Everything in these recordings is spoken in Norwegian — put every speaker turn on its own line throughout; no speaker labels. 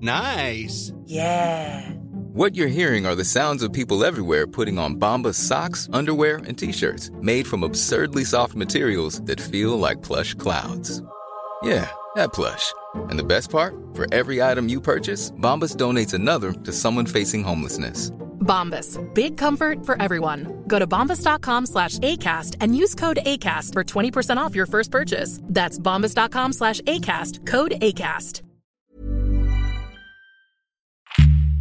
Nice.
Yeah.
What you're hearing are the sounds of people everywhere putting on Bombas socks, underwear, and t-shirts made from absurdly soft materials that feel like plush clouds. Yeah, that plush. And the best part? For every item you purchase, Bombas donates another to someone facing homelessness.
Bombas. Big comfort for everyone. Go to bombas.com slash ACAST and use code ACAST for 20% off your first purchase. That's bombas.com slash ACAST. Code ACAST.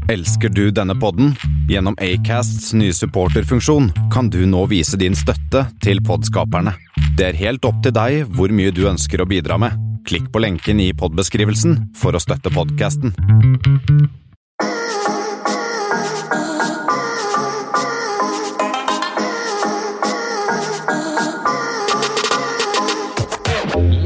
Elsker du denne podden? Gjennom Acasts nye supporterfunksjon kan du nå vise din støtte til podskaperne. Det er helt opp til deg hvor mye du ønsker å bidra med. Klikk på lenken i podbeskrivelsen for å støtte podcasten.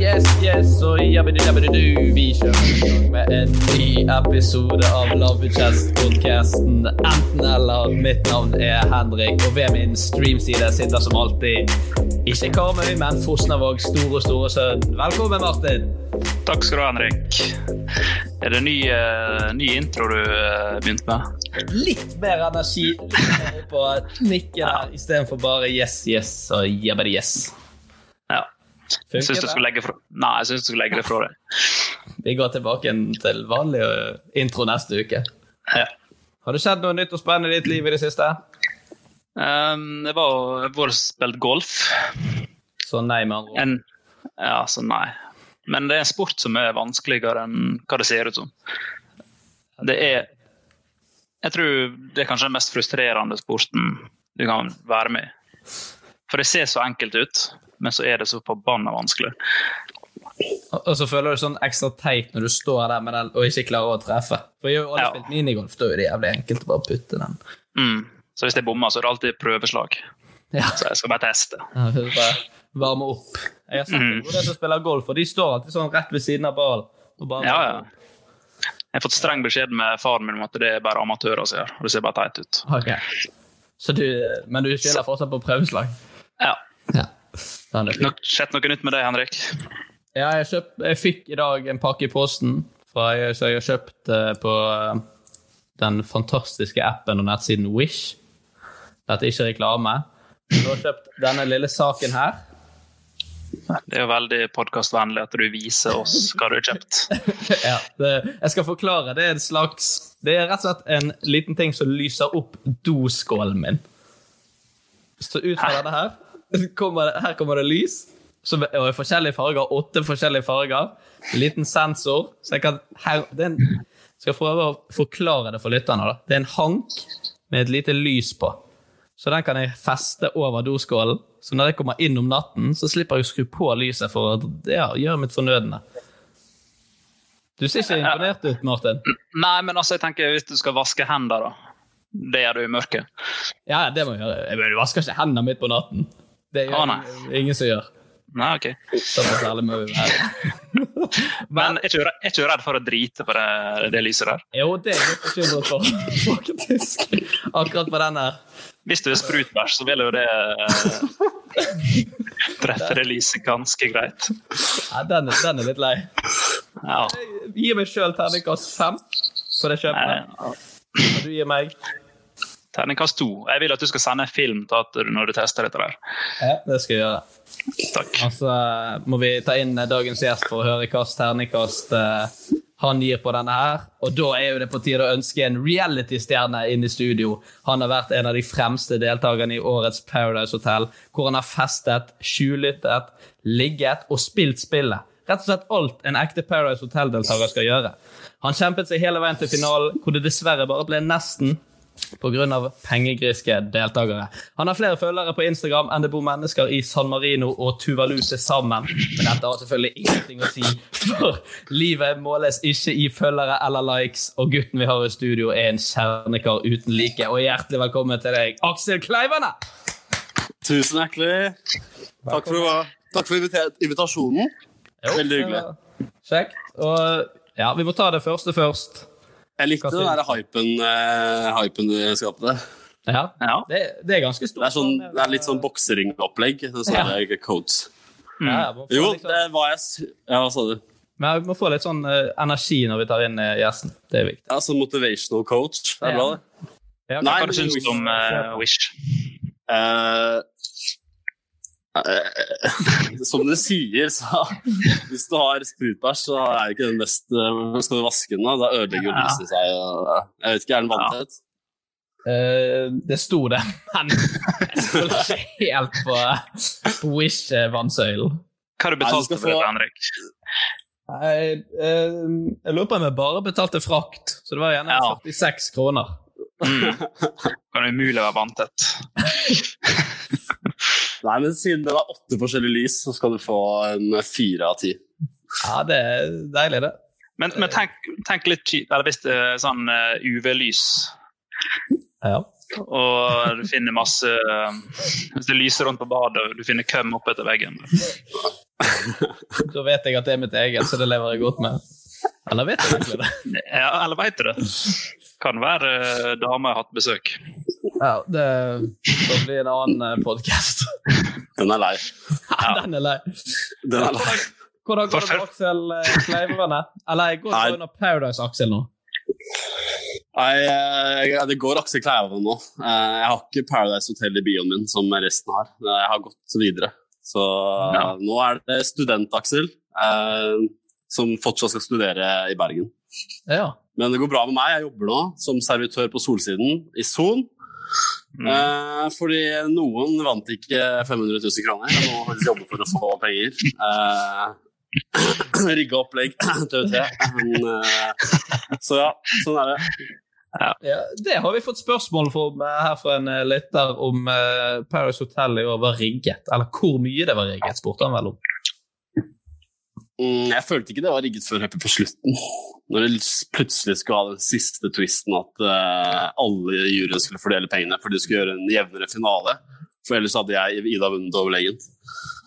Yes, yes og jabbidi-jabbidi-du. Vi kjører i gang med en ny episode av Lavbudsjettpodkasten Enten-eller. Mitt navn er Henrik, og ved min streamside sitter som alltid ikke Karmøy, men Fosnavåg store, store sønn. Velkommen, Martin.
Takk skal du ha, Henrik. Er det ny, eh, ny intro du eh, begynte med?
Litt mer energi litt mer opp på nikken her istedenfor bare yes, yes og jabbidi-yes.
Ja. Jeg syns du skulle legge, fra... Nei, jeg synes du skulle legge det fra deg.
Vi går tilbake igjen til vanlig eh, intro neste uke.
Ja.
Har det skjedd noe nytt og spennende i ditt liv i det siste?
Um, jeg var jo- jeg var og spilte golf.
Så nei, med andre ord.
En... Ja, så nei. Men det er en sport som er vanskeligere enn hva det ser ut som. Det er Jeg tror det er kanskje den mest frustrerende sporten du kan være med i. For det ser så enkelt ut, men så er det så forbanna vanskelig.
Og og så føler du sånn ekstra teit når du står der med den og ikke klarer å treffe. For jeg har jo alle
Ja.
spilt minigolf, da er det jævlig enkelt å bare putte den.
Mm. Så hvis jeg bommer, så er det alltid prøveslag.
Ja.
Så jeg skal bare teste.
Bare varme opp. Jeg har sett
Mm.
noen som spiller golf, og de står alltid sånn rett ved siden av ballen. og bare-
Ja, ja. Jeg har fått streng beskjed med faren min om at det er bare amatører som gjør og det. ser bare teit ut.
Ok. Så du, men du skylder fortsatt på prøveslag?
Ja.
Ja. Den er fin.
Nok, skjedd noe nytt med deg, Henrik?
Ja, jeg, kjøp, jeg fikk i dag en pakke i posten fra, så jeg har kjøpt eh, på eh, den fantastiske appen og nettsiden Wish. Dette er ikke reklame. Du har kjøpt denne lille saken her.
Det er jo veldig podkastvennlig at du viser oss hva du har kjøpt.
Ja, det, jeg skal forklare. Det er en slags Det er rett og slett en liten ting som lyser opp doskålen min. Så ut fra denne her kommer, det- Her kommer det lys. Som er, og er forskjellige farger. Åtte forskjellige farger. Liten sensor. Så jeg kan her, det er en, Skal prøve å forklare det for lytterne. da. Det er en hank med et lite lys på. Så den kan jeg feste over doskålen. Så når jeg kommer inn om natten, så slipper jeg å skru på lyset for å ja, gjøre mitt fornødne. Du ser ikke imponert ut, Martin.
Nei, men altså, jeg tenker hvis du skal vaske hender, da. Det gjør du i mørket.
Ja, det må jeg gjøre. Jeg mener, du vasker ikke hendene mitt på natten. Det gjør
Å, nei.
ingen- ingen som gjør.
Nei, ok.
Såpass ærlig må vi være.
Men jeg er ikke- jeg er ikke redd for å drite på det, det lyset der.
Jo, det er jeg litt bekymret for, faktisk. Akkurat på den her.
Hvis du er sprutbæsj, så vil jo det eh, Treffer Elise ganske greit.
Ja, den, er- den er litt lei.
Ja.
Gi meg sjøl terningkast fem på det kjøpet.
Nei,
Og du gir meg
Terningkast to. Jeg vil at du skal sende en film til at du, når du tester dette der.
ja, Det skal jeg gjøre.
Takk.
Og så eh, må vi ta inn eh, dagens gjest for å høre hva slags terningkast eh, han gir på denne her. Og da er jo det på tide å ønske en reality-stjerne inn i studio. Han har vært en av de fremste deltakerne i årets Paradise Hotel, hvor han har festet, skjulyttet, ligget og spilt spillet. Rett og slett alt en ekte Paradise Hotel-deltaker skal gjøre. Han kjempet seg hele veien til finalen, hvor det dessverre bare ble nesten pga. pengegriske deltakere. Han har flere følgere på Instagram enn det bor mennesker i San Marino og Tuvalu til sammen. Men dette har selvfølgelig ingenting å si, for livet måles ikke i følgere eller likes, og gutten vi har i studio, er en kjernekar uten like. Og hjertelig velkommen til deg, Aksel Kleivane!
Tusen hjertelig. Takk for, å- takk for invite- invitasjonen.
Jo,
Veldig hyggelig.
Kjekt. Og ja, vi må ta det første først.
Jeg likte den der hypen, eh, hypen du skapte.
Ja,
Ja.
det, det er ganske stort.
Det er, sånn, det er litt sånn bokseringopplegg. Sånne codes.
Ja, man får
mm. Jo,
liksom-
det var jeg s- Ja, hva sa du?
Men vi må få litt sånn eh, energi når vi tar inn eh, gjesten. Det er viktig.
Ja, sånn motivational coach. Det er bra, det.
Ja,
Nei,
Hva du syns du om eh, Wish?
Eh, eh, som du sier, så hvis du har sprutbæsj, så er det ikke den best eh, Skal du vaske den, da? Da ødelegger jo
Ja.
lyset seg. og- Jeg vet ikke, er den vanntett?
Eh, det sto det, men jeg stoler ikke helt på, på Wish-vannsøylen.
Hva har du
Nei, du
betalt
skal
for det,
få-
Henrik?
Jeg, lurer på om eh, jeg bare betalte frakt, så det var gjerne
Ja.
46 kroner.
Mm. Kan det umulig være vanntett?
Nei, men siden det er åtte forskjellige lys, så skal du få en fire av ti.
Ja, det er deilig, det.
Men, men tenk, tenk litt kjipt. Eller hvis det er sånn eh, UV-lys,
Ja.
og du finner masse eh, Hvis det lyser rundt på badet, og du finner køm oppetter veggen
Da vet jeg at det er mitt eget, så det lever jeg godt med. Eller vet jeg egentlig det?
Ja, eller veit du det? Kan være eh, dame har hatt besøk.
Ja, det får bli en annen podkast.
Den er lei.
Den er lei.
Den er lei.
Hvordan går det med
Forferd-
Aksel eh, Kleiverne? Eller jeg går
Nei.
bare under Paradise-Aksel nå.
Nei, eh, det går Aksel Kleivan nå. Eh, Jeg har ikke Paradise Hotel i bioen min som resten har. Eh, Jeg har gått videre. Så eh,
Ja.
nå er det student-Aksel eh, som fortsatt skal studere i Bergen.
Ja.
Men det går bra med meg. Jeg jobber nå som servitør på Solsiden i Son.
Mm.
Eh, fordi noen vant ikke 500 000 kroner. Jeg må faktisk jobbe for å få penger. Eh, Rigge opplegg til UT. Men, eh, så ja, sånn er det.
Ja, det har vi fått spørsmål om eh, her fra en eh, lytter om eh, Paris Hotel i år var rigget. Eller hvor mye det var rigget, spurte han vel om.
Mm, jeg følte ikke det var rigget før helt på slutten. Når det plutselig skulle ha den siste twisten at eh, alle i juryen skulle fordele pengene, for de skulle gjøre en jevnere finale. For ellers hadde jeg Ida vunnet overlegent.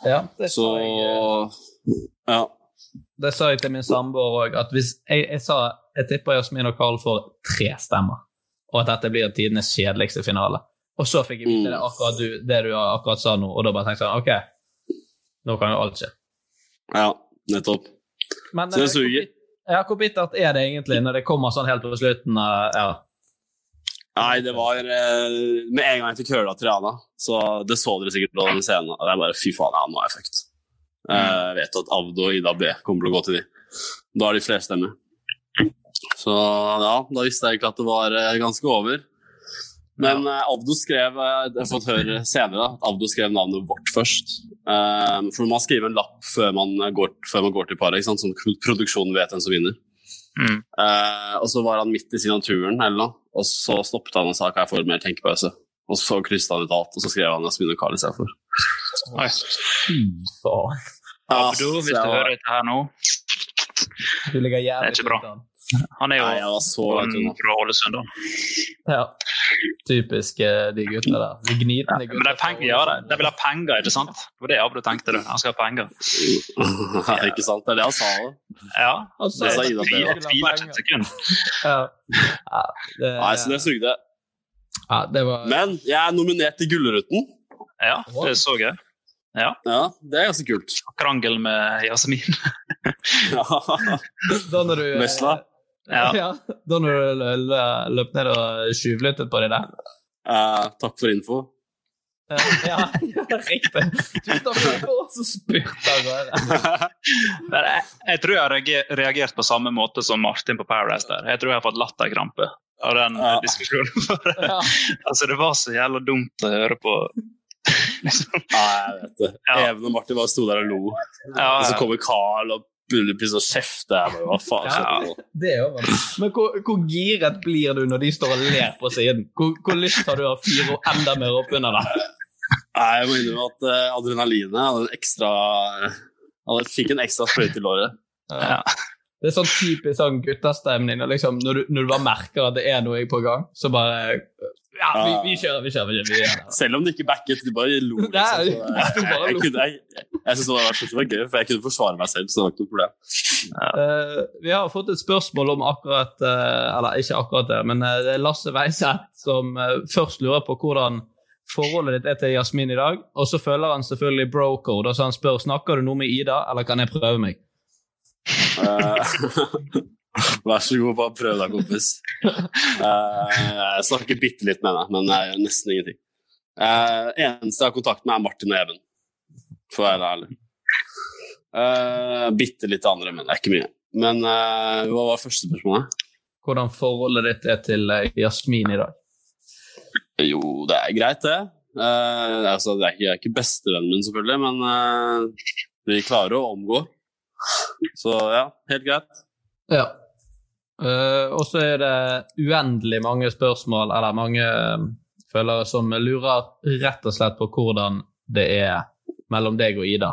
Ja, det,
Så
sa jeg,
ja.
eh, det sa jeg til min samboer òg, at hvis jeg, jeg sa jeg tipper Jasmin og Carl får tre stemmer, og at dette blir tidenes kjedeligste finale. Og så fikk jeg vite det, akkurat du, det du akkurat sa nå, og da bare tenkte jeg sånn OK, nå kan jo alt skje.
ja, nettopp.
Men,
Så det
eh,
suger.
Ja, hvor bittert er det egentlig når det kommer sånn helt på slutten? eh, ja.
Nei, det var eh, Med en gang jeg fikk høre det av Triana, så det så dere sikkert på den scenen. Og jeg bare fy faen, ja, nå er jeg fucked. Eh, Jeg vet at Avdo og Ida B kommer til å gå til de. Da er de flerstemme. Så ja, da visste jeg egentlig at det var eh, ganske over. Men eh, Avdo skrev eh, Jeg har fått høre senere da, at Avdo skrev navnet vårt først. Eh, for man skriver en lapp før man eh, går, før man går til paret, ikke sant? sånn produksjonen vet hvem som vinner.
Mm.
Eh, og så var han midt i signaturen, eller noe, og så stoppet han og sa hva jeg får mer tenkepause. Og så krysset han ut alt, og så skrev han Jasmin og Carl istedenfor.
Oi.
Så.
Ah,
Abdo, hvis du hører dette her nå
Du ligger
Det er
jævlig
ikke bra.
ut an.
Han er
Nei, jeg
jo
var så langt unna.
fra Ålesund, da.
Ja. Typisk eh, de guttene der. De gnitende
Men de, penger, ja, de, de vil ha penger, ikke sant? Det var det Abdo tenkte. du. Han skal ha penger.
ikke sant? Det er det han sa. da.
Ja.
Han sa
Det
sa
er
Ida
tviler
Bø.
tviler ikke et sekund.
Ja. Ja, det,
Nei, så det sugde.
ja, det var
Men jeg er nominert til Gullruten.
Ja, det så jeg. Ja.
Ja, det er ganske kult.
Krangel med Jasmin.
Ja.
Da når du eh,
Vesla?
Ja.
ja. Da når du lø- lø- løp ned og tjuvlyttet på de der.
Eh, takk for info.
Eh, Ja, riktig. Du stakk deg på, og så spurte jeg bare.
Men jeg, jeg tror jeg har reager- reagert på samme måte som Martin på Paradise der. Jeg tror jeg har fått latterkrampe av den eh,
Ja.
diskusjonen. For,
Ja.
altså, det var så jævla dumt å høre på. Liksom.
Ja, jeg vet det.
Ja.
Even og Martin bare sto der og lo.
Ja,
Og så
ja.
kommer Carl og begynner å kjefte. Jeg bare, hva faen skjer nå?
Det er jo vanlig. Men hvor, hvor giret blir du når de står og ler på siden? Hvor, hvor lyst har du å fyre og enda mer opp under det?
Nei, Jeg må innrømme at eh, adrenalinet hadde en ekstra Han fikk en ekstra sprøyte i låret.
Ja.
Det er sånn typisk sånn guttestemning. og Liksom, når, du, når du bare merker at det er noe på gang, så bare Ja, vi, vi kjører, vi kjører. vi kjører, vi gjør det.
Selv om det ikke backet. De bare lo. Liksom.
Nei,
Så, eh,
de bare
jeg-
lo.
Jeg, kunne- jeg, jeg synes det var, jeg synes det var gøy, for jeg kunne forsvare meg selv. så det var ikke noe problem.
Eh, vi har fått et spørsmål om akkurat eh, Eller ikke akkurat det, men eh, det er Lasse Weiseth som eh, først lurer på hvordan forholdet ditt er til Jasmin i dag. Og så følger han selvfølgelig brocode, og så han spør snakker du noe med Ida, eller kan jeg prøve meg?
Eh, Vær så god, bare prøv deg, kompis. Eh, jeg snakker bitte litt med henne, men jeg gjør nesten ingenting. Uh, eneste jeg har kontakt med, er Martin og Even, for å være ærlig. Uh, bitte litt andre, men det er ikke mye. Men eh, hva var første spørsmålet?
Hvordan forholdet ditt er til eh, Jasmin i dag?
Jo, det er greit, det. Eh, altså, det er ikke, jeg er ikke bestevennen min, selvfølgelig, men eh, vi klarer å omgå. Så ja, helt greit.
Ja. Eh, og så er det uendelig mange spørsmål, eller mange eh, følgere, som lurer rett og slett på hvordan det er mellom deg og Ida.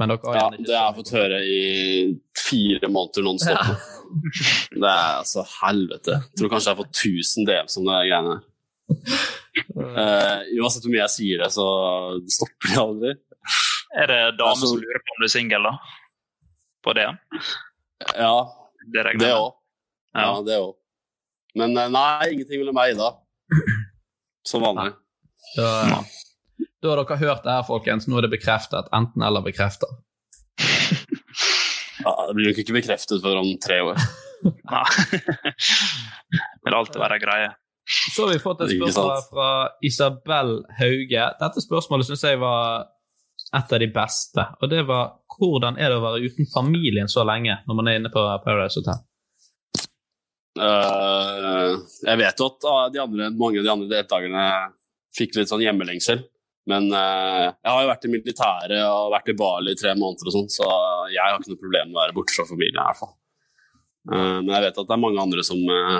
Men dere har
Ja,
gjerne ikke
det har jeg fått høre i fire måneder non stop. Det er altså helvete. Jeg tror kanskje jeg har fått 1000 DMs om de greiene her. Eh, uansett hvor mye jeg sier det, så stopper de aldri.
Er det damer
Altså-
som lurer på om du er singel, da? På det?
Ja,
Det regner
det
jeg med.
òg. Ja,
Ja.
det òg. Men eh, nei, ingenting mellom meg og Ida. Som vanlig.
Da, eh, da har dere hørt det her, folkens. Nå er det bekreftet. Enten eller bekreftet.
Ja, det blir jo ikke bekreftet før om tre år.
Nei. Vil alltid være greie.
Så har vi fått et
Ikke
spørsmål her
sant?
fra Isabel Hauge. Dette spørsmålet syns jeg var et av de beste. Og det var hvordan er det å være uten familien så lenge når man er inne på Paradise Hotel?
Eh, jeg vet jo at ah, de andre, mange av de andre deltakerne fikk litt sånn hjemmelengsel. Men eh, jeg har jo vært i militæret og vært i Bali i tre måneder, og sånn, så jeg har ikke noe problem med å være borte fra familien. i hvert fall. Eh, men jeg vet at det er mange andre som eh,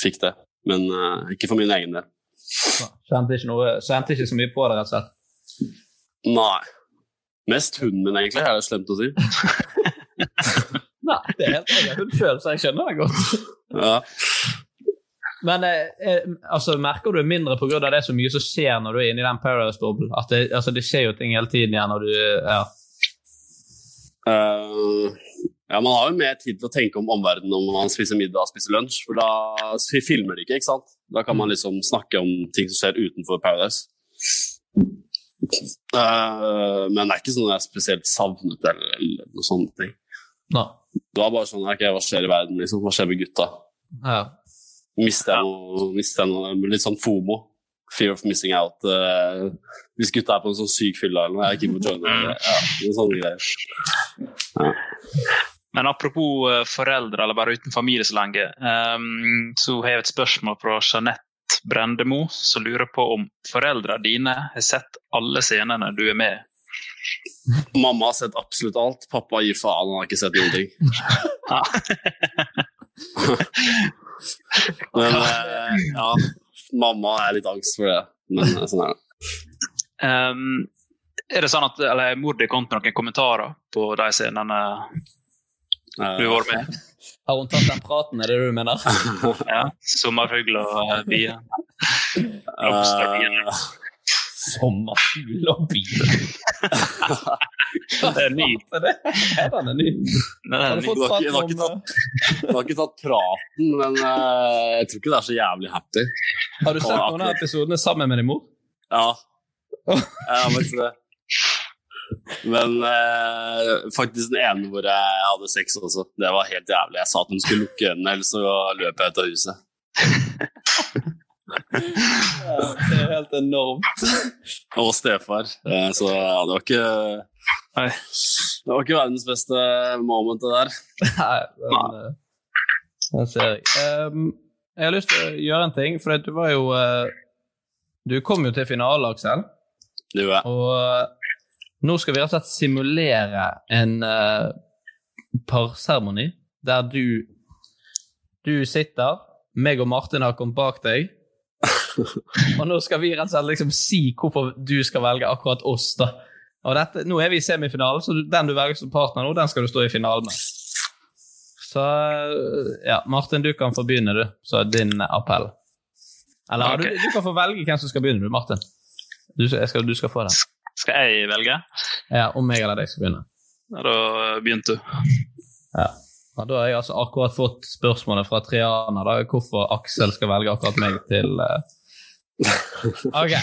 fikk det. Men eh, ikke for min egen del.
Kjente ikke, noe, kjente ikke så mye på det, rett og slett.
Nei. Mest hunden min, egentlig. Er det slemt å si?
Nei, det er helt jeg har hund selv, så jeg skjønner det godt.
Ja.
Men eh, eh, altså, merker du mindre pga. det er så mye som skjer når du er inne i den Paradise-boblen? At det, altså, det skjer jo ting hele tiden igjen når du ja.
Eh, ja, man har jo mer tid til å tenke om omverdenen om man spiser middag og spiser lunsj, for da vi filmer de ikke, ikke sant? Da kan man liksom snakke om ting som skjer utenfor Paradise. Eh, men det er ikke sånn at jeg er spesielt savnet eller, eller noe sånt. ting.
Nå.
Det var bare sånn ok, Hva skjer i verden? liksom? Hva skjer med gutta?
Ja.
Mister jeg noe, mister jeg noe Litt sånn FOMO. Fear of missing out. eh, hvis gutta er på en sånn syk fylla eller noe, jeg er ikke på joine. eller- Ja, noen sånne greier.
Men apropos eh, foreldre, eller bare uten familie så lenge, ehm, så har jeg et spørsmål fra Jeanette Brendemo, som lurer på om foreldra dine har sett alle scenene du er med i.
Mamma har sett absolutt alt. Pappa gir faen, han har ikke sett noen ting.
Ja.
Men eh, ja, mamma er litt angst for det. Men eh, sånn er det.
Ehm, er det sånn at, eller Har mor di kommet med noen kommentarer på de scenene du
Eh,
har vært med i?
Har hun tatt den praten, er det du mener?
Ja. Sommerfugl og eh, bier. Blomsterbiene.
Eh,
Sommerfugl og bil.
Det er ny.
Er det? Ja, den er ny.
Det
Har du
er ny.
fått
Du har
fatt
ikke- du har ikke
om,
Hun har ikke tatt praten, men eh, jeg tror ikke det er så jævlig happy.
eh, har du sett noen av episodene sammen med din mor?
Ja, jeg har faktisk det. Men eh, faktisk den ene hvor jeg hadde sex også. Det var helt jævlig. Jeg sa at hun skulle lukke øynene, ellers så løp jeg ut av huset.
Det er helt enormt.
Og stefar. Eh, Så ja, det var ikke
Nei.
Det var ikke verdens beste moment, det der.
Nei, den, eh, den ser jeg. Ehm, jeg har lyst til å gjøre en ting, for at du var jo eh, Du kom jo til finale, Aksel,
Det gjorde jeg.
og eh, nå skal vi rett og slett simulere en eh, parseremoni der du Du sitter, meg og Martin har kommet bak deg, og nå skal vi rett og slett liksom si hvorfor du skal velge akkurat oss, da. Og dette, nå er vi i semifinalen, så du- den du velger som partner nå, den skal du stå i finalen med. Så ja, Martin, du kan få begynne, du. Så er din appell. Eller har
Ok.
du, du kan få velge hvem som skal begynne, du, Martin. Du, jeg skal, du skal få den.
Skal jeg velge?
Ja, Om jeg eller deg skal begynne.
Ja, Da begynte du.
Ja, da har jeg altså akkurat fått spørsmålet fra Triana da, hvorfor Aksel skal velge akkurat meg til eh. Ok.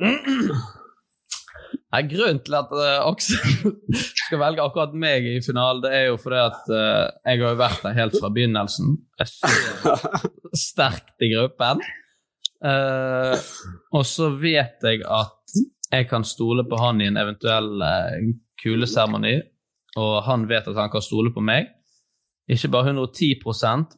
Nei, grunnen til at eh, Aksel skal velge akkurat meg i finalen, det er jo fordi at eh, jeg har jo vært der helt fra begynnelsen. Jeg står sterkt i gruppen. Eh, og så vet jeg at jeg kan stole på han i en eventuell eh, kuleseremoni, og han vet at han kan stole på meg ikke bare 110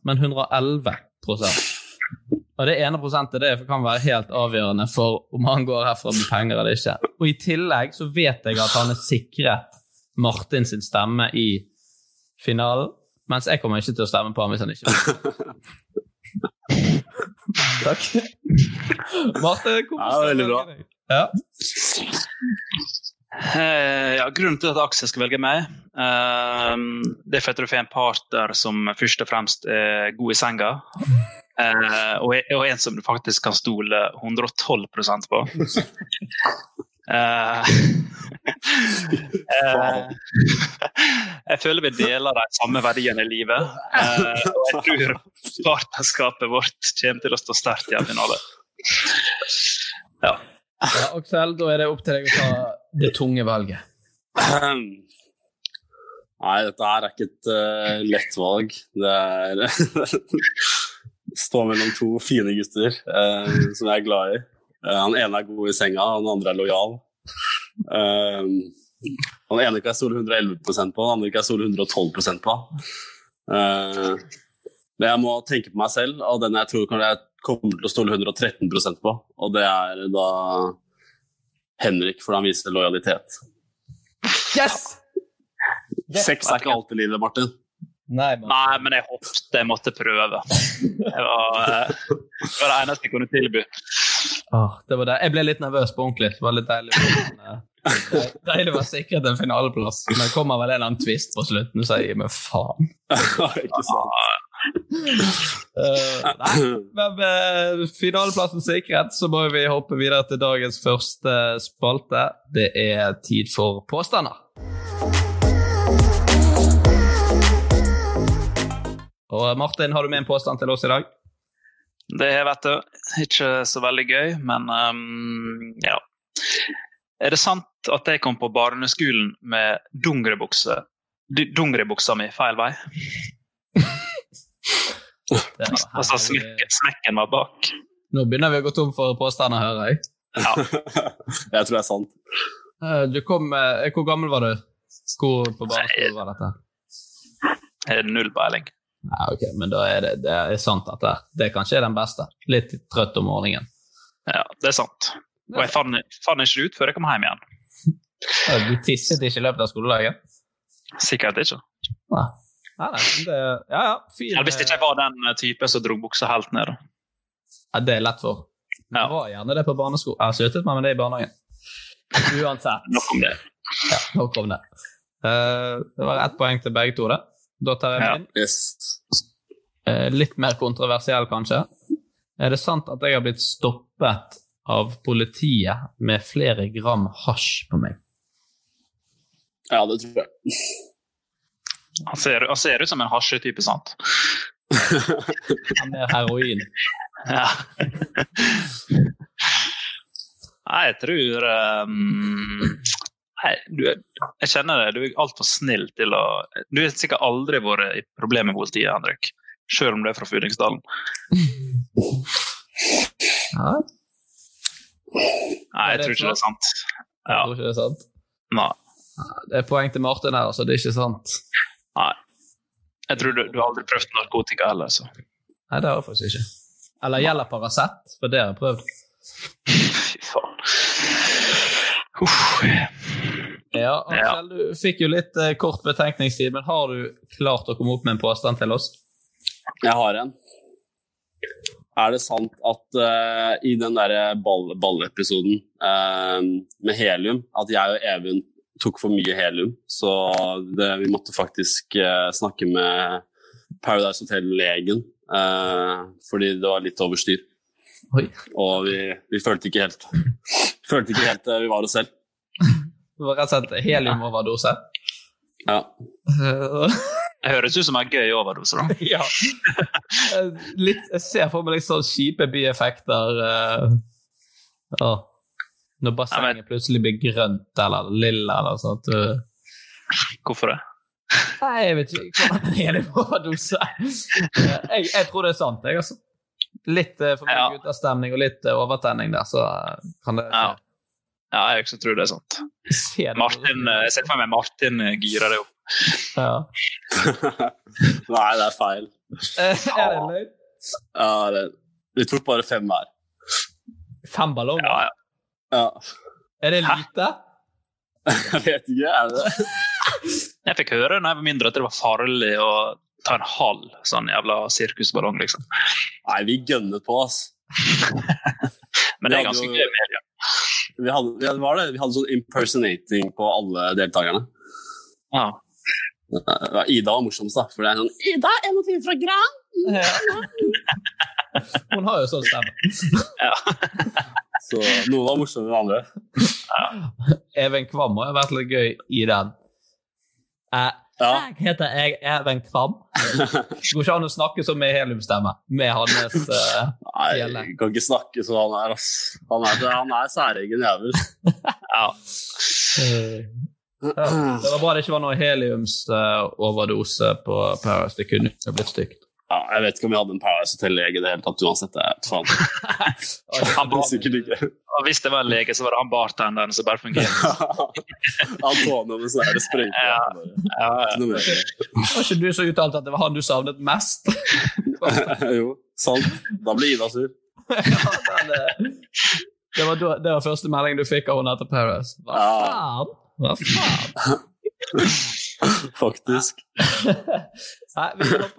men 111 Og det ene prosentet det kan være helt avgjørende for om han går herfra med penger eller ikke. Og i tillegg så vet jeg at han er sikret Martin sin stemme i finalen, mens jeg kommer ikke til å stemme på ham hvis han ikke vil. Takk. Martin, hvorfor
Ja, veldig bra.
velge deg? Ja.
Eh, ja, grunnen til at Aksel skal velge meg, eh, det er for at du får en partner som først og fremst er god i senga, eh, og, er- og en som du faktisk kan stole 112 på. Eh, eh, jeg føler vi deler de samme verdiene i livet, eh, og jeg tror partnerskapet vårt kommer til å stå sterkt i en finale.
ja, Aksel, da er det opp til deg å ta det tunge valget.
Nei, dette her er ikke et eh, lett valg. Det er Stå mellom to fine gutter eh, som jeg er glad i. Eh, han ene er god i senga, han andre er lojal. Eh, han ene kan jeg stole 111 på, han andre kan jeg stole 112 på. Eh, men jeg må tenke på meg selv, og den jeg tror kan- jeg kommer til å stole 113 på, og det er da Henrik, for han viser lojalitet.
Yes!
Sex er ikke alltid livet, Martin.
Nei, Martin.
Nei, men jeg håpet jeg måtte prøve. Det var, eh, det var det eneste jeg kunne tilby.
Åh, det var det. Jeg ble litt nervøs på ordentlig. Det var litt deilig. Men, eh, det- Deilig å være sikret en finaleplass. Men det kommer vel en eller annen twist på slutten, så jeg gir meg faen.
ikke sant?
Eh, nei, men med finaleplassen sikret, så må vi hoppe videre til dagens første spalte. Det er tid for påstander. Og eh, Martin, har du med en påstand til oss i dag?
Det er vet du, ikke så veldig gøy, men ehm, ja. Er det sant at jeg kom på barneskolen med dungerebukse? d- Dungeribuksa mi feil vei?
Det er-
Altså smekken, smekken var bak.
Nå begynner vi å gå tom for påstander, hører jeg.
Jeg tror det er sant.
Eh, Du kom, eh, hvor gammel var du? Hvor på barneskolen var dette?
Jeg hadde Null peiling.
Nei, ok, men da er det, det er sant at det, det kanskje er den beste. Litt trøtt om morgenen.
Ja, det er sant. Og jeg fant, fant ikke ut før jeg kom hjem igjen.
Ja, Eh, Du tisset ikke i løpet av skoledagen?
Sikkert ikke.
Nei. Nei, nei, men det, ja, ja, fin.
Eller hvis ikke jeg var den eh, typen som dro buksa helt ned. da.
Ja, det er lett for. Det
Ja.
var gjerne det på barneskolen. Jeg har sluttet meg med det i barnehagen. Uansett.
Nok om det.
Ja, nok om det. Eh, det var ett poeng til begge to, det. Da tar jeg
Ja.
min. Eh, litt mer kontroversiell, kanskje. Er det sant at jeg har blitt stoppet av politiet med flere gram hasj på meg?
Ja, det tror jeg.
Han ser, han ser ut som en hasjetype, sant?
Ja, Mer heroin?
Ja. Nei, jeg tror ehm, Nei, du, er- jeg kjenner det. Du er altfor snill til å Du har sikkert aldri vært i problemer med politiet, Henrik. Selv om du er fra Fyllingsdalen.
Ja,
Nei, jeg
Ja, det
tror
er
ikke det er sant.
jeg
Ja,
tror ikke det er sant.
nei.
Det er poeng til Martin her, altså. Det er ikke sant.
nei. Jeg tror du, du har aldri prøvd narkotika heller, så
Nei, det har jeg faktisk ikke. Eller gjelder Paracet, for det har jeg prøvd.
Fy faen. Uff.
Ja, Aksel, du fikk jo litt eh, kort betenkningstid, men har du klart å komme opp med en påstand til oss?
Jeg har en. Er det sant at eh, i den derre ball- ballepisoden eh, med helium, at jeg og Even tok for mye helium, så det, vi måtte faktisk eh, snakke med Paradise Hotel-legen, eh, fordi det var litt over styr.
Oi.
Og vi, vi følte ikke helt Følte ikke helt eh, vi var oss selv.
Det var rett og slett heliumoverdose.
Ja.
Det høres ut som en gøy overdose, da.
ja. Eh, Litt, jeg ser for meg litt sånn kjipe bieffekter. eh, ja. Når
Nei,
bassenget plutselig blir grønt eller lilla eller sånt. eh.
Hvorfor det?
Nei, jeg vet ikke hvordan en heliumoverdose er. Eh, Jeg, jeg tror det er sant, jeg, altså. Litt eh, for meg
Ja.
guttastemning og litt eh, overtenning der, så eh, kan det
Ja. Ja, jeg også tror det er sant.
se det.
Martin, eh, jeg ser for meg Martin eh, girer det opp.
Ja.
Nei, det er feil.
Eh, Er det løgn?
Ja, det, vi tok bare fem hver.
Fem ballonger?
Ja, ja.
Ja.
Er det lite?
Jeg vet ikke, er det det?
Jeg fikk høre når jeg var mindre at det var farlig å ta en halv sånn jævla sirkusballong, liksom.
Nei, vi gønner på, ass.
Men det er
Vi hadde
ganske
jo-
gøy med helium.
Vi hadde, vi hadde, var det, vi hadde sånn impersonating på alle deltakerne.
Ja.
Eh, Ida var morsomst, da. For det er sånn Ida, er noe fra Gran?
Hun har jo sånn stemme.
Så noen var morsommere enn andre.
Even Kvam har vært litt gøy i den. Eh,
Ja.
Jeg heter jeg Even Kvam. Det går ikke an å snakke som med heliumstemme. Med hans eh,
Nei, jeg kan ikke snakke sånn han er, ass. Han er, han er særegen jævel.
ja.
eh, ja. Det var bra det ikke var noe heliumsoverdose på Paris. Det kunne jo blitt stygt.
Ja, jeg vet ikke om vi hadde en Paradise Hotel-lege i det hele tatt, uansett. Jeg vet faen.
Han
Det er
bar,
Sikkert ikke.
og hvis det var en lege, så var det han bartenderen som bare fungerte.
Antonio med sånn her sprøyte.
Ja. Ja, ja.
Ikke noe mer.
Var ikke du som uttalte at det var han du savnet mest?
Jo, sant. Da blir Ida sur.
Ja, det, det, var, da- det var første meldingen du fikk av henne etter Paris. Hva
Ja.
faen? Hva faen?
Faktisk.
Nei, vi skal opp-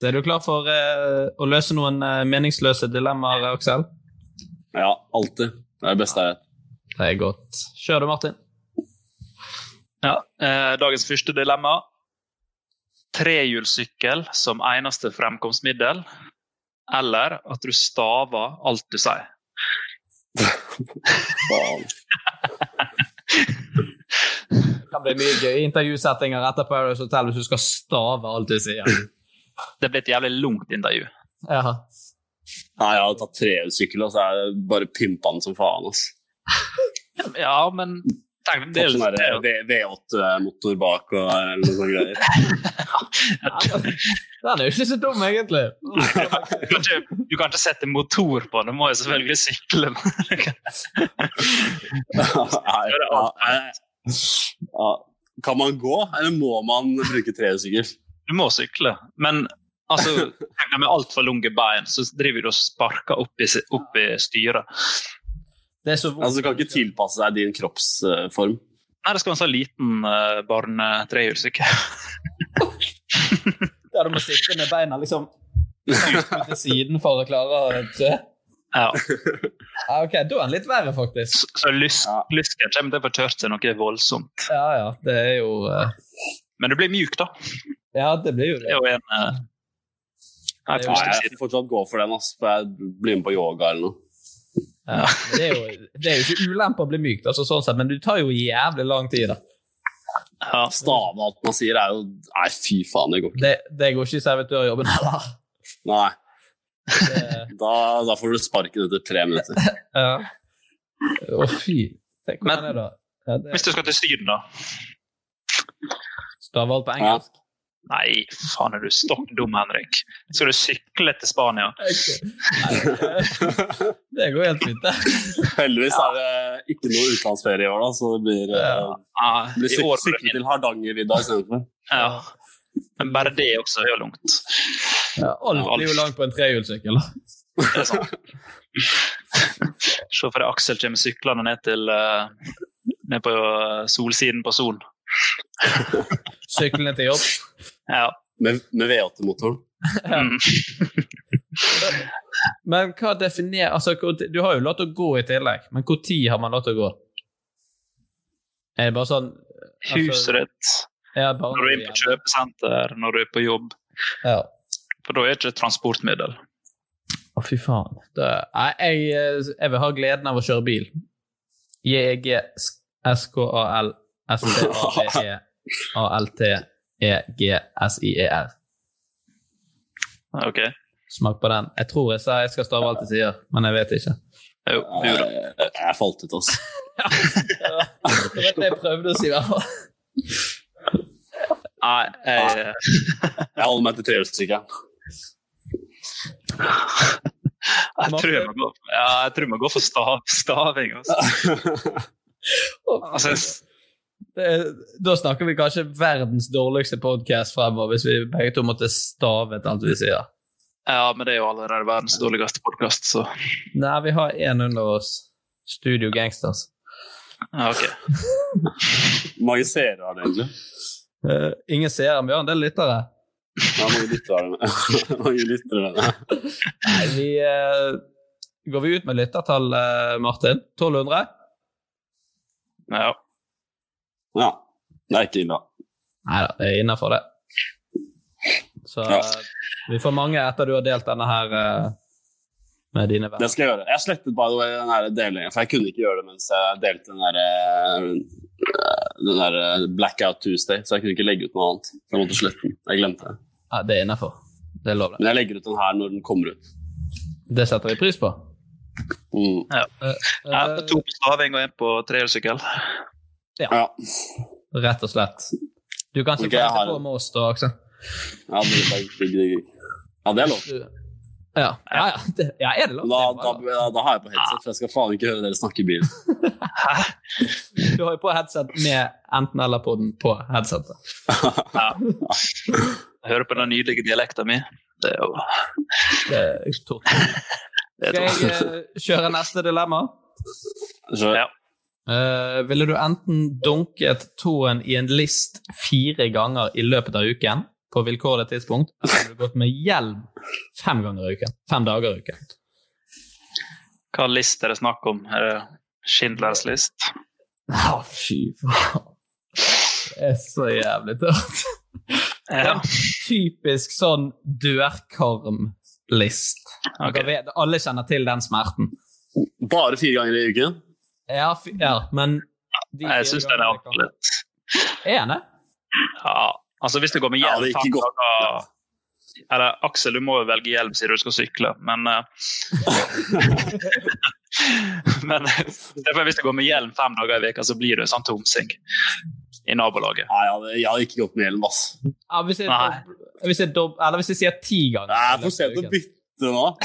Så Er du klar for eh, å løse noen eh, meningsløse dilemmaer, Aksel?
Ja, alltid. Det er det beste jeg vet.
Det er godt. Kjør du, Martin.
Ja, eh, dagens første dilemma. Trehjulssykkel som eneste fremkomstmiddel, eller at du staver alt du sier?
Faen.
Det kan bli mye gøy intervjusettinger etter Paradise Hotel hvis du skal stave alt du sier.
Det blir et jævlig langt intervju.
Ja.
Nei, jeg hadde tatt trehjulssykkel, og så er det bare pimpa den som faen. ass.
Ja, men tenk, det
Fått
er
sånn der
jo
V- V8-motor bak og eh, eller noe sånt greier.
Den er jo ikke så dum, egentlig.
Du kan, ikke, du kan ikke sette motor på den, du må jo selvfølgelig sykle.
Nei,
det er
ja, jeg- ja. Kan man gå, eller må man bruke trehjulssykkel?
Du må sykle, men altså, tenk deg med altfor lange bein, så driver du og sparker opp i, opp i styret.
Det er så vondt.
Altså, du kan ikke tilpasse deg din kroppsform.
Nei, det skal være en sånn liten uh, barnetrehjulssykkel.
Ja, du må sitte med beina liksom ut til siden for å klare å tre.
Ja.
Ja, ok, da er den litt verre, faktisk.
Så, så lys,
Ja.
lysken kommer til å få tørt seg noe voldsomt.
Ja, ja, det er jo eh,
Men du blir mjuk, da.
Ja, det blir jo
Det
det.
er jo en eh,
Det er
en
jo-
Nei,
positiv
jeg
side.
får fortsatt gå for den, ass, for jeg blir med på yoga eller noe.
Ja, men det, er jo, det er jo ikke ulempe å bli mykt, altså, sånn sett, men du tar jo jævlig lang tid. da.
Ja.
Stave alt man sier, er jo Nei, fy faen, det går ikke.
Det, det går ikke i servitørjobben heller.
Nei,
Det-
da, da får du sparken etter tre minutter.
ja. Å, fy. Tenk
Men-
hvordan det er, da. Ja, det
Hvis du skal til Syden, da.
Stav alt på
Ja.
engelsk.
Nei, faen er du stokk dum, Henrik. Skal du sykle til Spania?
Nei, det går helt fint, det.
Heldigvis er det ikke noe utenlandsferie i år, da, så det blir, eh,
Ja,
blir
i
syk
år
sykle til Hardangervidda istedenfor.
Ja. Men bare det også er jo langt.
Ja, alt blir jo langt på en trehjulssykkel. da.
Det er sant. Se for deg Aksel kommer syklende ned til eh, ned på eh, solsiden på Sol.
Syklene til jobb.
Ja.
Med, med V8-motoren.
Mm.
Men hva definerer altså, hvor ti- Du har jo lov til å gå i tillegg, men når har man lov til å gå? Er det bare sånn
Huset ditt,
Ja, bare
når du er inne på kjøpesenter, når du er på jobb.
Ja.
For da er det ikke et transportmiddel.
Å, fy faen. Det, nei, jeg, eh, jeg vil ha gleden av å kjøre bil. E E J-E-G-S-K-A-L-S-T-A-V-E-A-L-T-E-G-S-I-E-R.
Ok?
Smak på den. Jeg tror jeg sa jeg skal stave alt jeg sier, men jeg vet ikke.
Jo, jo da.
Jeg, jeg falt ut, altså.
Det var det jeg prøvde å si, i hvert fall.
Nei, jeg,
Jeg holder meg til trehjulssykkelen.
jeg, tror jeg, må gå, ja, jeg tror jeg må gå for stav, staving. Altså. Altså,
Det, er- da snakker vi kanskje verdens dårligste podkast fremover, hvis vi begge to måtte stave til alt vi sier.
ja, men det er jo allerede verdens dårligste podkast, så
Nei, vi har én under oss. Studio Gangsters.
ja, ok.
Hvor mange seere har det egentlig?
Eh, ingen seere, men vi har en del lyttere.
Ja, hvor mange lyttere har det? Hvor mange lyttere har det?
Nei, vi eh, Går vi ut med lyttertall, eh, Martin? 1200?
Ja.
Ja. Det er ikke ille. da.
Nei da, det er innafor det. Så eh, vi får mange etter du har delt denne her eh, med dine venner.
Det skal jeg gjøre. Jeg slettet by the way, den her delingen, for jeg kunne ikke gjøre det mens jeg delte den der, eh, den der eh, Blackout Tuesday, så jeg kunne ikke legge ut noe annet. Så jeg måtte slette den. Jeg glemte det.
Ja, det er innafor. Det er lov, det.
Men jeg legger ut den her når den kommer ut.
Det setter vi pris på.
Mm.
Ja.
Eh,
Ja,
eh,
to på staving og én på trehjulssykkel.
Ja.
Rett og slett. Du kan
Ok,
sikkert
jeg
okay,
har
på
det.
med oss da, Aksel.
ja, det er digg, digg, digg. Ja, det er lov.
Ja, ja, ja, det, ja er det lov?
Da,
Det er
da,
bra, da.
da, da har jeg på headset, for jeg skal faen ikke høre dere snakke i bilen.
Du har jo på headset med enten-eller-poden på headsetet.
Ja. Jeg hører på den nydelige dialekten min. Det er jo
Det er tortur.
det er
Skal
trått.
jeg eh, kjøre neste dilemma?
Så,
Ja.
Eh, ville du enten dunket tåen i en list fire ganger i løpet av uken på vilkårlig tidspunkt, eller ville du gått med hjelm fem ganger i uken? Fem dager i uken.
Hva list er det snakk om? Er det Schindlers list?
Å, fy faen. Det er så jævlig tørt.
Ja.
Typisk sånn dørkarmlist.
Ok.
Dere vet- Alle kjenner til den smerten.
Bare fire ganger i uken?
Ja, fy, ja men de fire
Jeg syns den er
gangene
altfor lett.
kan- Er den det?
Ja. Altså, hvis du går med
Ja,
hjelm
det er
fem
ikke godt.
dager Eller Aksel, du må jo velge hjelm siden du skal sykle, men eh, Men eh, derfor, hvis du går med hjelm fem dager i veka, så blir du en sånn tomsing i nabolaget.
Nei, jeg hadde, jeg hadde ikke gått med hjelm, ass.
Ja, hvis jeg,
Nei.
hvis jeg, dob- eller hvis jeg sier ti ganger.
Det er for sent å bytte nå.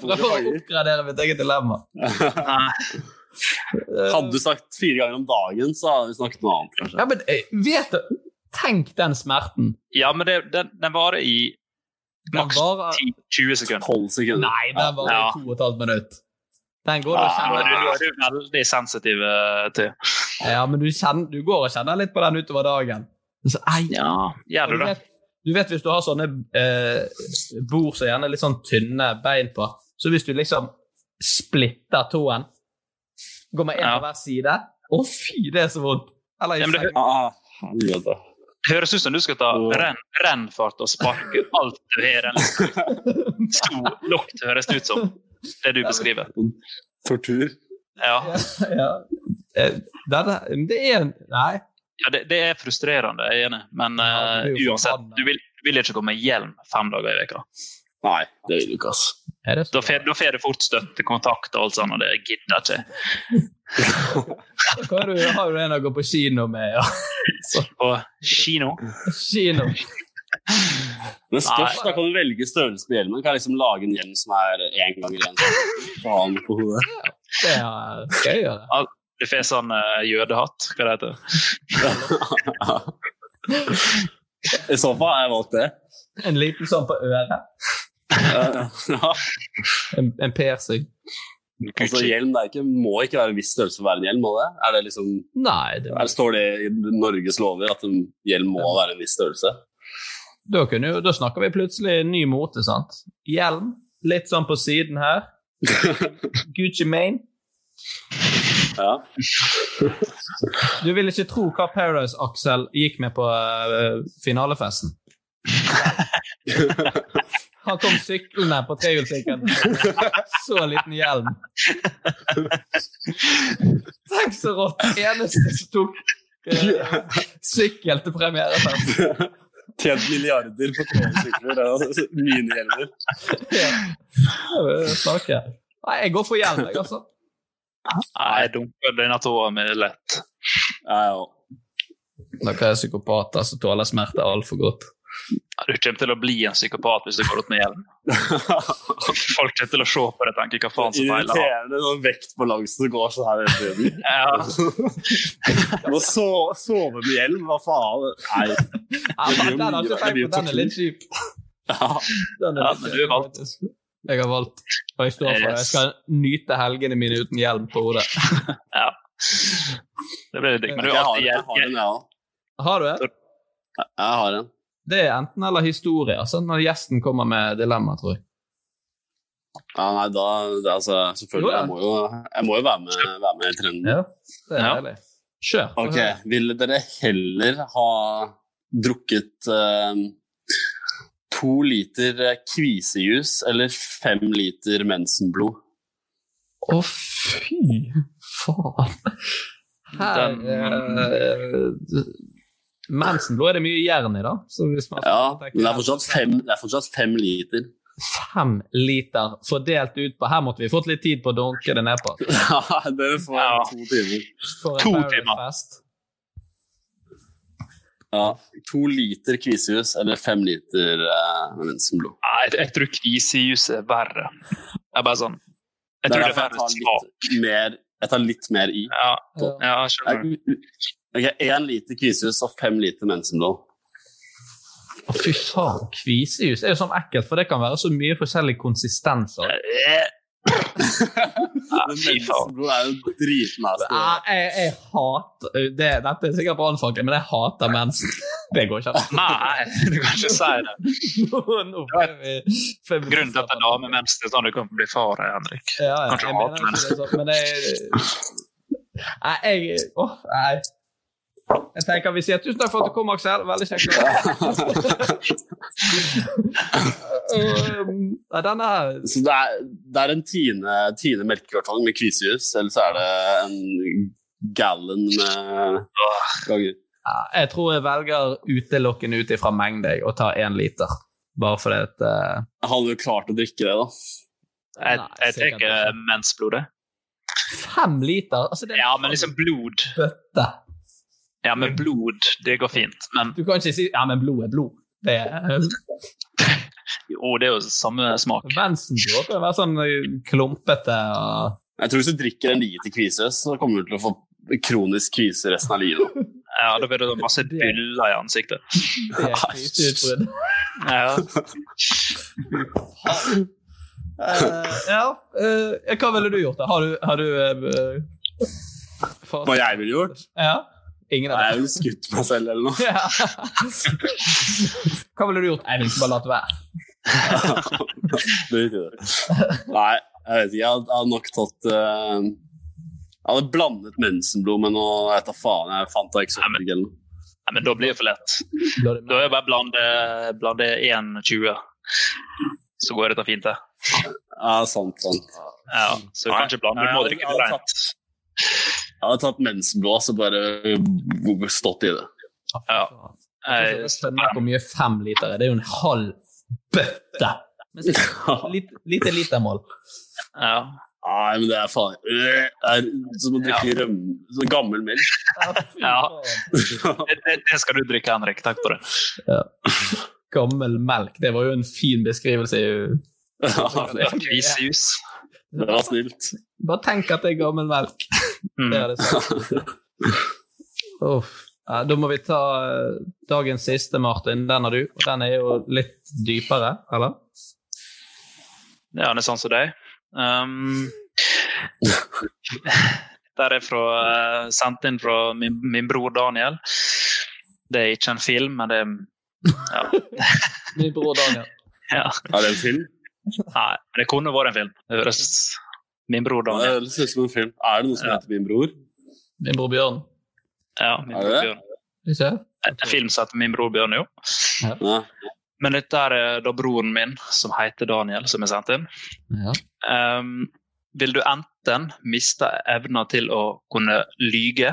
Prøv å oppgradere mitt eget dilemma.
Nei,
Hadde du sagt fire ganger om dagen, så hadde vi snakket noe annet, kanskje.
Ja, men eh, vet du Tenk den smerten.
Ja, men det, den, den varer i
Den
maks
varer
10-20 sekunder.
12 sekunder.
Nei, den varer
Ja.
i to og et halvt minutt. Den går du og
Ja,
Ja, men
kjenner
du, du er jo veldig sensitiv eh, til
Ja, men du, kjenner, du går og kjenner litt på den utover dagen. Så, ei,
Ja, gjør
du
du det?
vet, du vet hvis du har sånne eh, bord som gjerne er litt sånn tynne bein på, så hvis du liksom splitter tåen, går med én
Ja.
på hver side Å, fy, det er så vondt! Eller i
Ja, men det-
sengen.
Ah, helvete.
Høres ut som du skal ta
Åh.
renn, rennfart og sparke alt du har i en liten stor lukt, høres det ut som. Det du beskriver.
Tortur.
Ja,
ja. Eh, denne- Det er en Nei.
ja det, det er frustrerende, jeg er enig, men
Ja, du
eh,
blir jo
uansett.
forbanna.
Du vil, du vil ikke gå med hjelm fem dager i veka.
Nei, det vil du ikke, ass.
Er det
Da
så?
får da får du fort støttekontakt og alt sånt, og det gidder jeg ikke.
Hva har du, har du en å gå på kino med? Ja.
På kino
Kino.
Men spørs,
Nei.
da kan du velge størrelse på hjelmen. Kan jeg liksom lage en hjelm som er én ganger én. Faen på hodet.
Det er- skal jeg gjøre.
du får sånn eh, jødehatt, hva det heter.
I så fall har jeg valgt det.
En liten sånn på øret.
Ja.
En, en piercing.
Altså, hjelm det er ikke, må ikke være en viss størrelse for å være en hjelm, må det? Er det liksom,
Nei, det,
er, står det i Norges lover at en hjelm må være en viss størrelse?
da, kunne, jo- da snakker vi plutselig ny mote, sant? Hjelm, litt sånn på siden her. Gucci Mane.
Ja.
Du vil ikke tro hva Paradise Axel gikk med på eh, finalefesten. Han kom syklende på trehjulssykkelen. Så liten hjelm. Tenk så rått! Eneste som tok eh, sykkel til premierefest.
Tjent milliarder på tresykler og minihjelmer.
Ja. Det er Snakke. Nei, jeg går for hjelm, jeg, altså.
Nei, jeg dunker denne tåa mi lett.
Ja, ja.
Dere er psykopater som tåler smerte altfor godt.
Ja, Du kommer til å bli en psykopat hvis du går ut med hjelm. Folk kommer til å se på det og tenke hva faen som feiler han.
Irriterende når vektbalansen går sånn her hele tiden.
Ja,
Må so- sove med hjelm, hva faen? Nei.
Ja,
Det blir jo
den har jeg
mye-
ikke
det
tenkt
blir jo
på. Den er litt kjip.
Ja.
Den er
Ja,
litt
men
kjip,
du har valgt.
faktisk. Jeg har valgt, og jeg står for det. Jeg
Yes.
skal nyte helgene mine uten hjelm på hodet.
ja. Det blir litt digg. Men du
Jeg
har
har,
alltid
jeg har en,
hjelm.
jeg òg.
Har du det?
Jeg har en.
Det er enten eller historie, altså, når gjesten kommer med dilemma, tror jeg.
Ja, nei, da, det, er altså,
Jo,
selvfølgelig,
ja.
jeg må jo, jeg må jo være, med, være med i trenden.
Det er
Ja.
deilig. Kjør. få
Ok,
høre.
ville dere heller ha drukket eh, to liter eh, kvisejus eller fem liter mensenblod.
Å, fy faen. Her eh, Mensenblod er det mye jern i, da. Så hvis man
Ja, men det er fortsatt fem, det er fortsatt fem liter.
fem liter fordelt ut på Her måtte vi fått litt tid på å dunke det nedpå.
Ja, dere får to timer.
For en
To
Pirate
timer.
Fest.
Ja, to liter kvisejus eller fem liter eh, mensenblod.
Nei, jeg, jeg tror kvisejus er verre. Jeg er bare sånn Jeg
Det er
tror det er
derfor
verre
jeg
smak.
tar litt mer, jeg tar litt mer i.
Ja,
Ja.
ja, jeg skjønner.
Ok, Én liter kvisejus og fem liter mensenblod.
Å, fy faen. Kvisejus er jo sånn ekkelt, for det kan være så mye forskjellige konsistenser.
Eh,
Men
fy faen.
mensenblod er jo dritnasty.
Ah, jeg, jeg hater det, Dette er sikkert brannfakkel, men jeg hater mensen. Det går ikke an.
Nei, du kan ikke si Ah, det.
Nå- nå ble vi feminister.
Grunnen til at en dame mens det er sånn du kan bli far, Henrik.
Ja, ja,
Kanskje
jeg
hat,
mener ikke det sånn, men jeg Nei, jeg Åh, nei. Jeg tenker Vi sier tusen takk for at du kom, Aksel. Veldig kjekt. Um, Nei, denne her
Så det er, det er en Tine, tine melkekartong med kvisejus, eller så er det en gallon med ganger.
Ja, Jeg tror jeg velger utelukkende ut ifra mengde jeg, og tar én liter. Bare fordi at eh,
Hadde du klart å drikke det, da?
Nei,
Jeg, jeg
sikkert
tenker
ikke.
mensblodet.
Fem liter? Altså, det er
Ja, men liksom blod
bøtte.
Ja, men blod, det går fint. Men
Du kan ikke si ja, men blod er blod. Det er eh,
jo, det er jo samme smak.
Vensenblod kan være sånn eh, klumpete og
Jeg tror hvis du drikker en liter kvisejus, så kommer du til å få kronisk kvise resten av livet.
Ja, Da blir det sånn masse byller i ansiktet.
det er kriseutbrudd.
Ja.
Eh, ja, eh, hva ville du gjort? da? Har du, har du eh, fast-
Hva jeg ville gjort?
Ja? Ingen
Nei,
av
Jeg ville skutt meg selv eller noe.
dem? Ja. Hva ville du gjort? Jeg ville ikke bare latt være.
Drit i det. Nei, jeg vet ikke. Jeg hadde- hadde nok tatt eh, Jeg hadde blandet mensenblod med noe Jeg vet da faen, jeg fant da
Nei, men-
eksotisk eller noe.
Nei, men da blir det for lett.
La det-
Da er det bare blande, blande 1,20. Så går dette fint, det.
Ja, sant, sant.
Ja, så du kan ikke blande, du må drikke det rent.
Jeg hadde tatt mensenblod og bare stått i det.
Ja.
Altså, Jeg skjønner hvor mye fem liter er. Det er jo en halv bøtte. Men så- Litt, lite litermål.
Ja.
Nei, men det er faen øh, Det er som å drikke rømme Sånn gammel melk.
Ja. Det, det- det skal du drikke, Henrik. Takk for det.
Gammel melk. Det var jo en fin beskrivelse. i- Altså,
det
Kvisejus.
var snilt.
Bare tenk at det er gammel melk.
Mm.
Det er det samme. Uff. Ja, da må vi ta eh, dagens siste, Martin. Den har du. Og den er jo litt dypere, eller?
Ja, det er sånn som deg. Um, der er fra, eh, sendt inn fra min, min bror Daniel. Det er ikke en film, men det er ja.
Min bror Daniel.
ja.
Er det en film?
Nei, men det kunne vært en film. Det høres Min bror
Ja,
Daniel.
det ser ut som en film. Er det noe som
Ja.
heter Min bror?
Min bror Bjørn.
Ja, min
Er det
bror
det?
Bjørn.
Ikke?
En film som heter Min bror Bjørn, jo.
Nei.
Men dette er eh, da broren min, som heter Daniel, som er sendt inn.
Ja.
Ehm, vil du enten miste evna til å kunne lyge,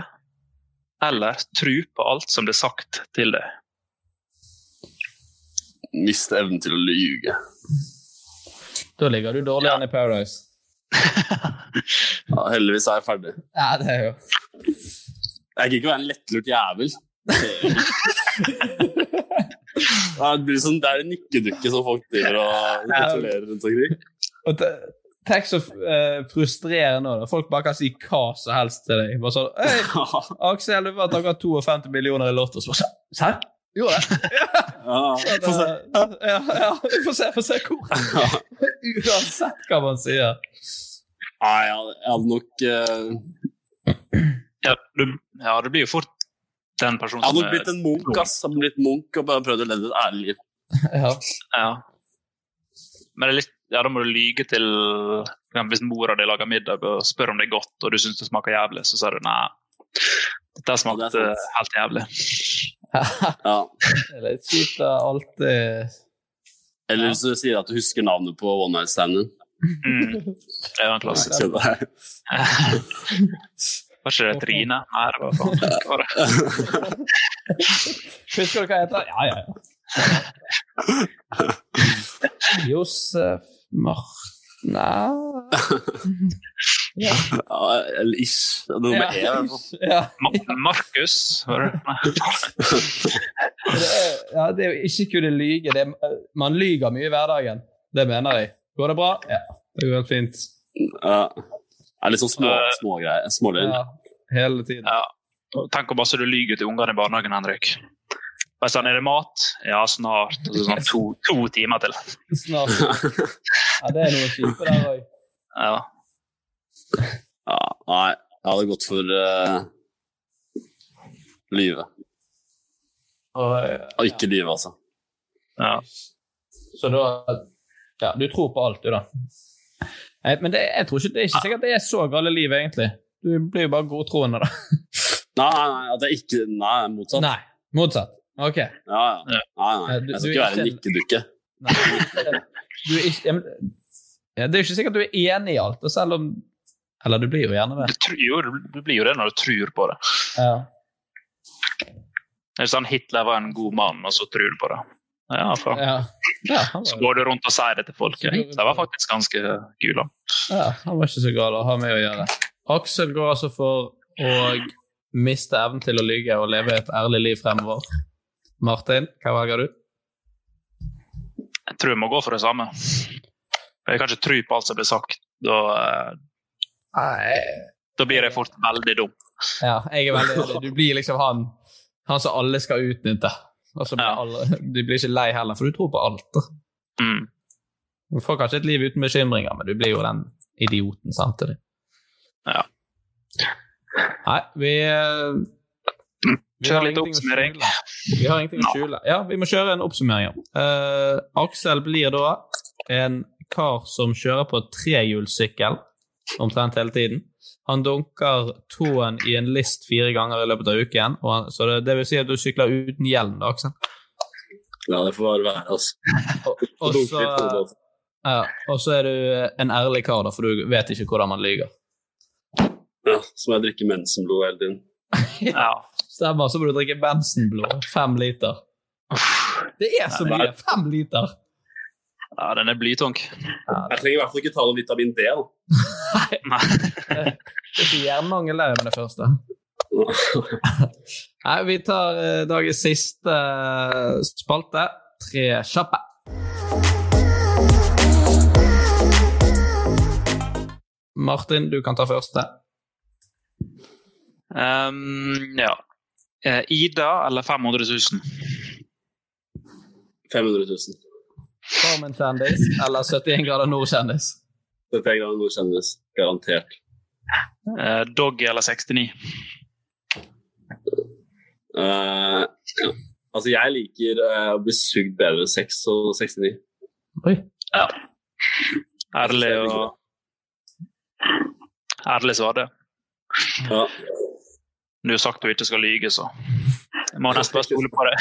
eller tro på alt som blir sagt til deg?
Miste evnen til å lyge.
Da ligger du dårlig an i Paradise.
Ja, heldigvis er jeg ferdig.
Ja, det er jo
Jeg gidder ikke å være en lettlurt jævel. Ja, Det blir sånn, det er en nikkedukke som folk driver og kontrollerer rundt omkrig.
Og te- Tenk så eh, frustrerende da. Folk bare kan si hva som helst til deg. Bare sånn Hei, Aksel, du vet at dere har 52 millioner i Lotto. Så bare sånn, Serr? Gjorde det?
Ja, få se.
Ja, ja, vi får se, får se hvor. Uansett hva man sier.
Nei, jeg hadde- jeg hadde nok eh,
Ja, du, ja, du blir jo fort den personen
Jeg
som
hadde nok blitt en munk ass. Jeg hadde blitt munk og bare prøvd å leve et ærlig liv.
Ja.
Ja. Men det er litt, ja, da må du lyge til for eksempel Hvis mora di lager middag og spør om det er godt, og du syns det smaker jævlig, så sier du nei. Dette
Ja, det
smakte
er sant.
helt jævlig.
Det
Ja.
eh. er litt kjipt å alltid
Eller hvis du sier at du husker navnet på one night standen.
Mm. Det var en klassisk.
Skjønner
Var
jeg.
ikke det Trine? Nei, det var faen ikke hva det.
Husker du hva jeg heter? Ja, ja, ja. Josef Martna
Ja, eller ish. Det er noe med E. i hvert fall.
Ja.
Ma- Markus, var det? Nei.
Det er, ja, det er jo ikke kunne lyge. Det er, man lyger mye i hverdagen. Det mener jeg. Går det bra? Ja. Det går helt fint.
Ja. Det er litt sånn små, små greier. Små
Ja, hele tiden.
Ja. Og Tenk hvor masse du lyger til ungene i barnehagen, Henrik. Og jeg sa, er det mat? Ja, snart. Og så sånn to, to timer til.
Snart. Ja, det er noe kjipe der òg.
Ja.
Ja, nei, jeg hadde gått for uh, lyve. Og ikke lyve, altså.
ja.
Så da Ja, du tror på alt, du, da. Nei, men det, jeg tror ikke, det er ikke sikkert det er så gale liv, egentlig. Du blir jo bare godtroende, da.
Nei, nei, nei, at jeg ikke Nei, motsatt.
Nei. Motsatt. OK.
Ja, ja. Nei, nei.
Ja, du-
Jeg
du
skal
er
ikke være en
ikke-
nikkedukke.
Nei. Du er ikke, ja, men, ja, det er jo ikke sikkert du er enig i alt, og selv om Eller du blir jo gjerne det.
Du, tr- jo, du blir jo det når du tror på det.
Ja.
Det er sånn Hitler var en god mann, og så tror du på det. Ja, faen.
Ja. Ja, han
Så
var,
går du rundt og sier det til folk. Ja. Det var faktisk ganske kul. da.
ja, han var ikke så gal å ha med å gjøre. Aksel går altså for å miste evnen til å lyge og leve et ærlig liv fremover. Martin, hva velger du?
Jeg tror jeg må gå for det samme. For Jeg kan ikke tro på alt som blir sagt. Da, eh,
Nei
da blir jeg fort veldig dum.
Ja, jeg er veldig enig. Du blir liksom han, han som alle skal utnytte. Og så blir
Ja.
alle, du blir ikke lei heller, for du tror på alt. da.
Mm.
Du får kanskje et liv uten bekymringer, men du blir jo den idioten samtidig.
Ja.
Nei, vi eh, vi har
Kjør litt
ingenting å
oppsummering.
skjule. Vi har ingenting å skjule. Ja, vi må kjøre en oppsummering. ja. Eh, Aksel blir da en kar som kjører på trehjulssykkel omtrent hele tiden. Han dunker tåen i en list fire ganger i løpet av uken, og han, så det, det vil si at du sykler uten hjelm, da, Aksel.
Ja, det får bare være, altså.
Og
Dunke
så,
litt hodet, altså.
ja, Eh, og så er du en ærlig kar, da, for du vet ikke hvordan man lyver.
Ja, så må jeg drikke mensenblod hele tiden.
Ja.
Stemmer, så må du drikke Bensenblå. Fem liter. Det er så mye! Fem liter!
ja, den er blytung.
Jeg trenger i hvert fall ikke ta noe vitamin D, da.
Nei.
Det er ikke jernmangel der med det første. Nei, vi tar eh, dagens siste eh, spalte. Tre kjappe. Martin, du kan ta første.
Ehm, ja. Eh, Ida eller 500 000?
500 000.
Farmen-kjendis eller 71 grader nord-kjendis?
Dette er grader godkjennes. Garantert.
Eh, Doggy eller 69?
Eh, ja. Altså, jeg liker eh, å bli sugd bedre enn 6 og 69.
Oi.
Ja. Ærlig og Ærlig svar, det.
Ja.
Du har sagt du ikke skal lyge, så jeg må nesten bare stole på det.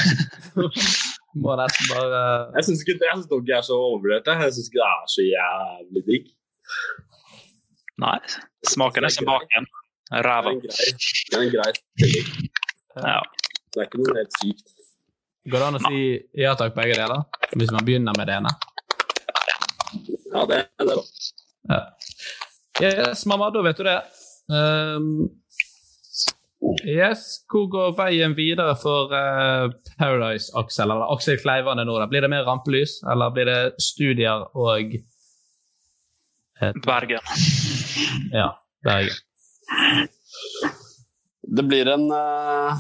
Må nesten bare eh,
Jeg syns ikke jeg synes Doggy er så overvurdert. jeg. Jeg syns ikke det er så jævlig digg.
Nei. Smaken er som baken. Ræva.
Det er en grei- Det er en grei stilling.
Ja.
Det er ikke noe helt sykt.
Går det an å si ja takk, begge deler? Hvis man begynner med det ene.
Ja, det er det, da.
Yes, mamma, da vet du det. Ehm, yes, hvor går veien videre for eh, Paradise, Aksel? Eller Aksel Kleivane nå, da? Blir det mer rampelys, eller blir det studier og
Bergen.
Ja, Bergen?
Det blir en eh,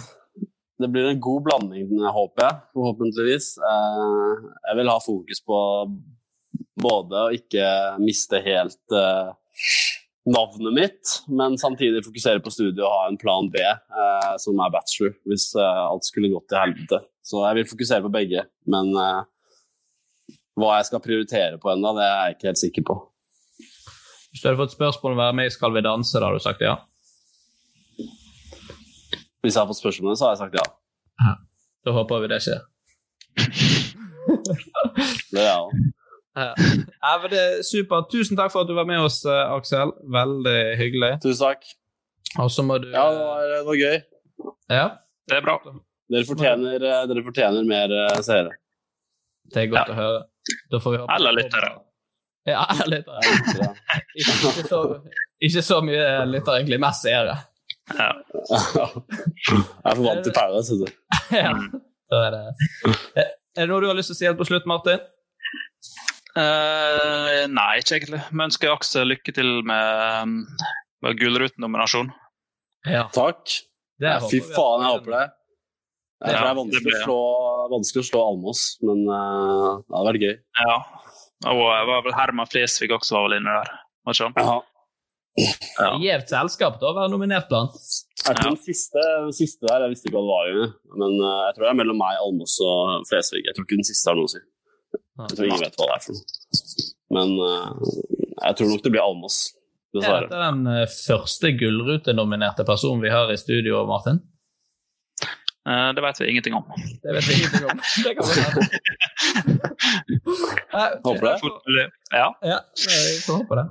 det blir en god blanding, håper jeg. Forhåpentligvis. Eh, Jeg vil ha fokus på både å ikke miste helt eh, navnet mitt, men samtidig fokusere på studiet og ha en plan B, eh, som er bachelor, hvis eh, alt skulle gått til helvete. Så jeg vil fokusere på begge, men eh, hva jeg skal prioritere på ennå, det er jeg ikke helt sikker på.
Hvis du hadde fått spørsmål om å være med i Skal vi danse, da hadde du sagt ja?
Hvis jeg har fått spørsmål om det, så har jeg sagt ja.
Da håper vi det skjer.
Det er
Ja.
jeg også.
Ja, men det er supert. Tusen takk for at du var med oss, eh, Aksel. Veldig hyggelig.
Tusen takk.
Og så må du
Ja, det var, det var gøy.
Ja,
Det er bra.
Dere fortjener, eh, dere fortjener mer eh, seere.
det er godt å høre. Da får vi håpe
Eller lyttere.
Ja, eller lyttere.
Jeg liker det.
Ikke, ikke, så, ikke så mye lyttere, egentlig. Mest seere.
Ja.
Jeg er for vant til Paradise. vet du.
Ja.
Mm.
Da er det. Er det noe du har lyst til å si helt på slutt, Martin?
Eh, nei, ikke egentlig. Men ønsker Aksel lykke til med, med Gullruten-nominasjon.
Ja.
Takk. Ja, fy faen, jeg håper det. Jeg tror
Ja,
det er
det blir
vanskelig å
det.
slå, vanskelig å slå Almås, men eh, det hadde vært gøy.
Ja. Og jeg var vel Herman Flesvig også var vel inne der. Var ikke han?
Ja.
Ja.
Gjevt selskap da, å være nominert blant.
Jeg tror den siste, den siste der, jeg visste ikke hva det var, engang, men eh, jeg tror det er mellom meg, Almås og Flesvig. Jeg tror ikke den siste har noe å si. Jeg tror ingen vet hva det er for noe. Men eh, jeg tror nok det blir Almås,
Er
dessverre.
dette den eh, første Gullruten-nominerte personen vi har i studio, Martin?
Eh, det vet vi ingenting om.
Det vet vi ingenting om. Det kan vi ha.
Håper det.
Ja.
Ja, vi får håpe det.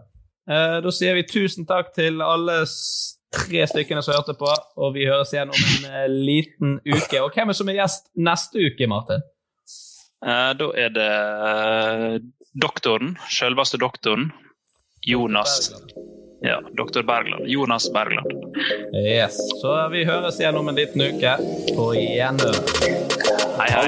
Eh, Da sier vi tusen takk til alle s- tre stykkene som hørte på, og vi høres igjen om en eh, liten uke. Og hvem er som er gjest neste uke, Martin?
Eh, da er det eh, doktoren, selveste doktoren, Jonas Ja, doktor Bergland. Jonas Bergland.
Yes. Så vi høres igjen om en liten uke. På gjenhør.
Hei, hei.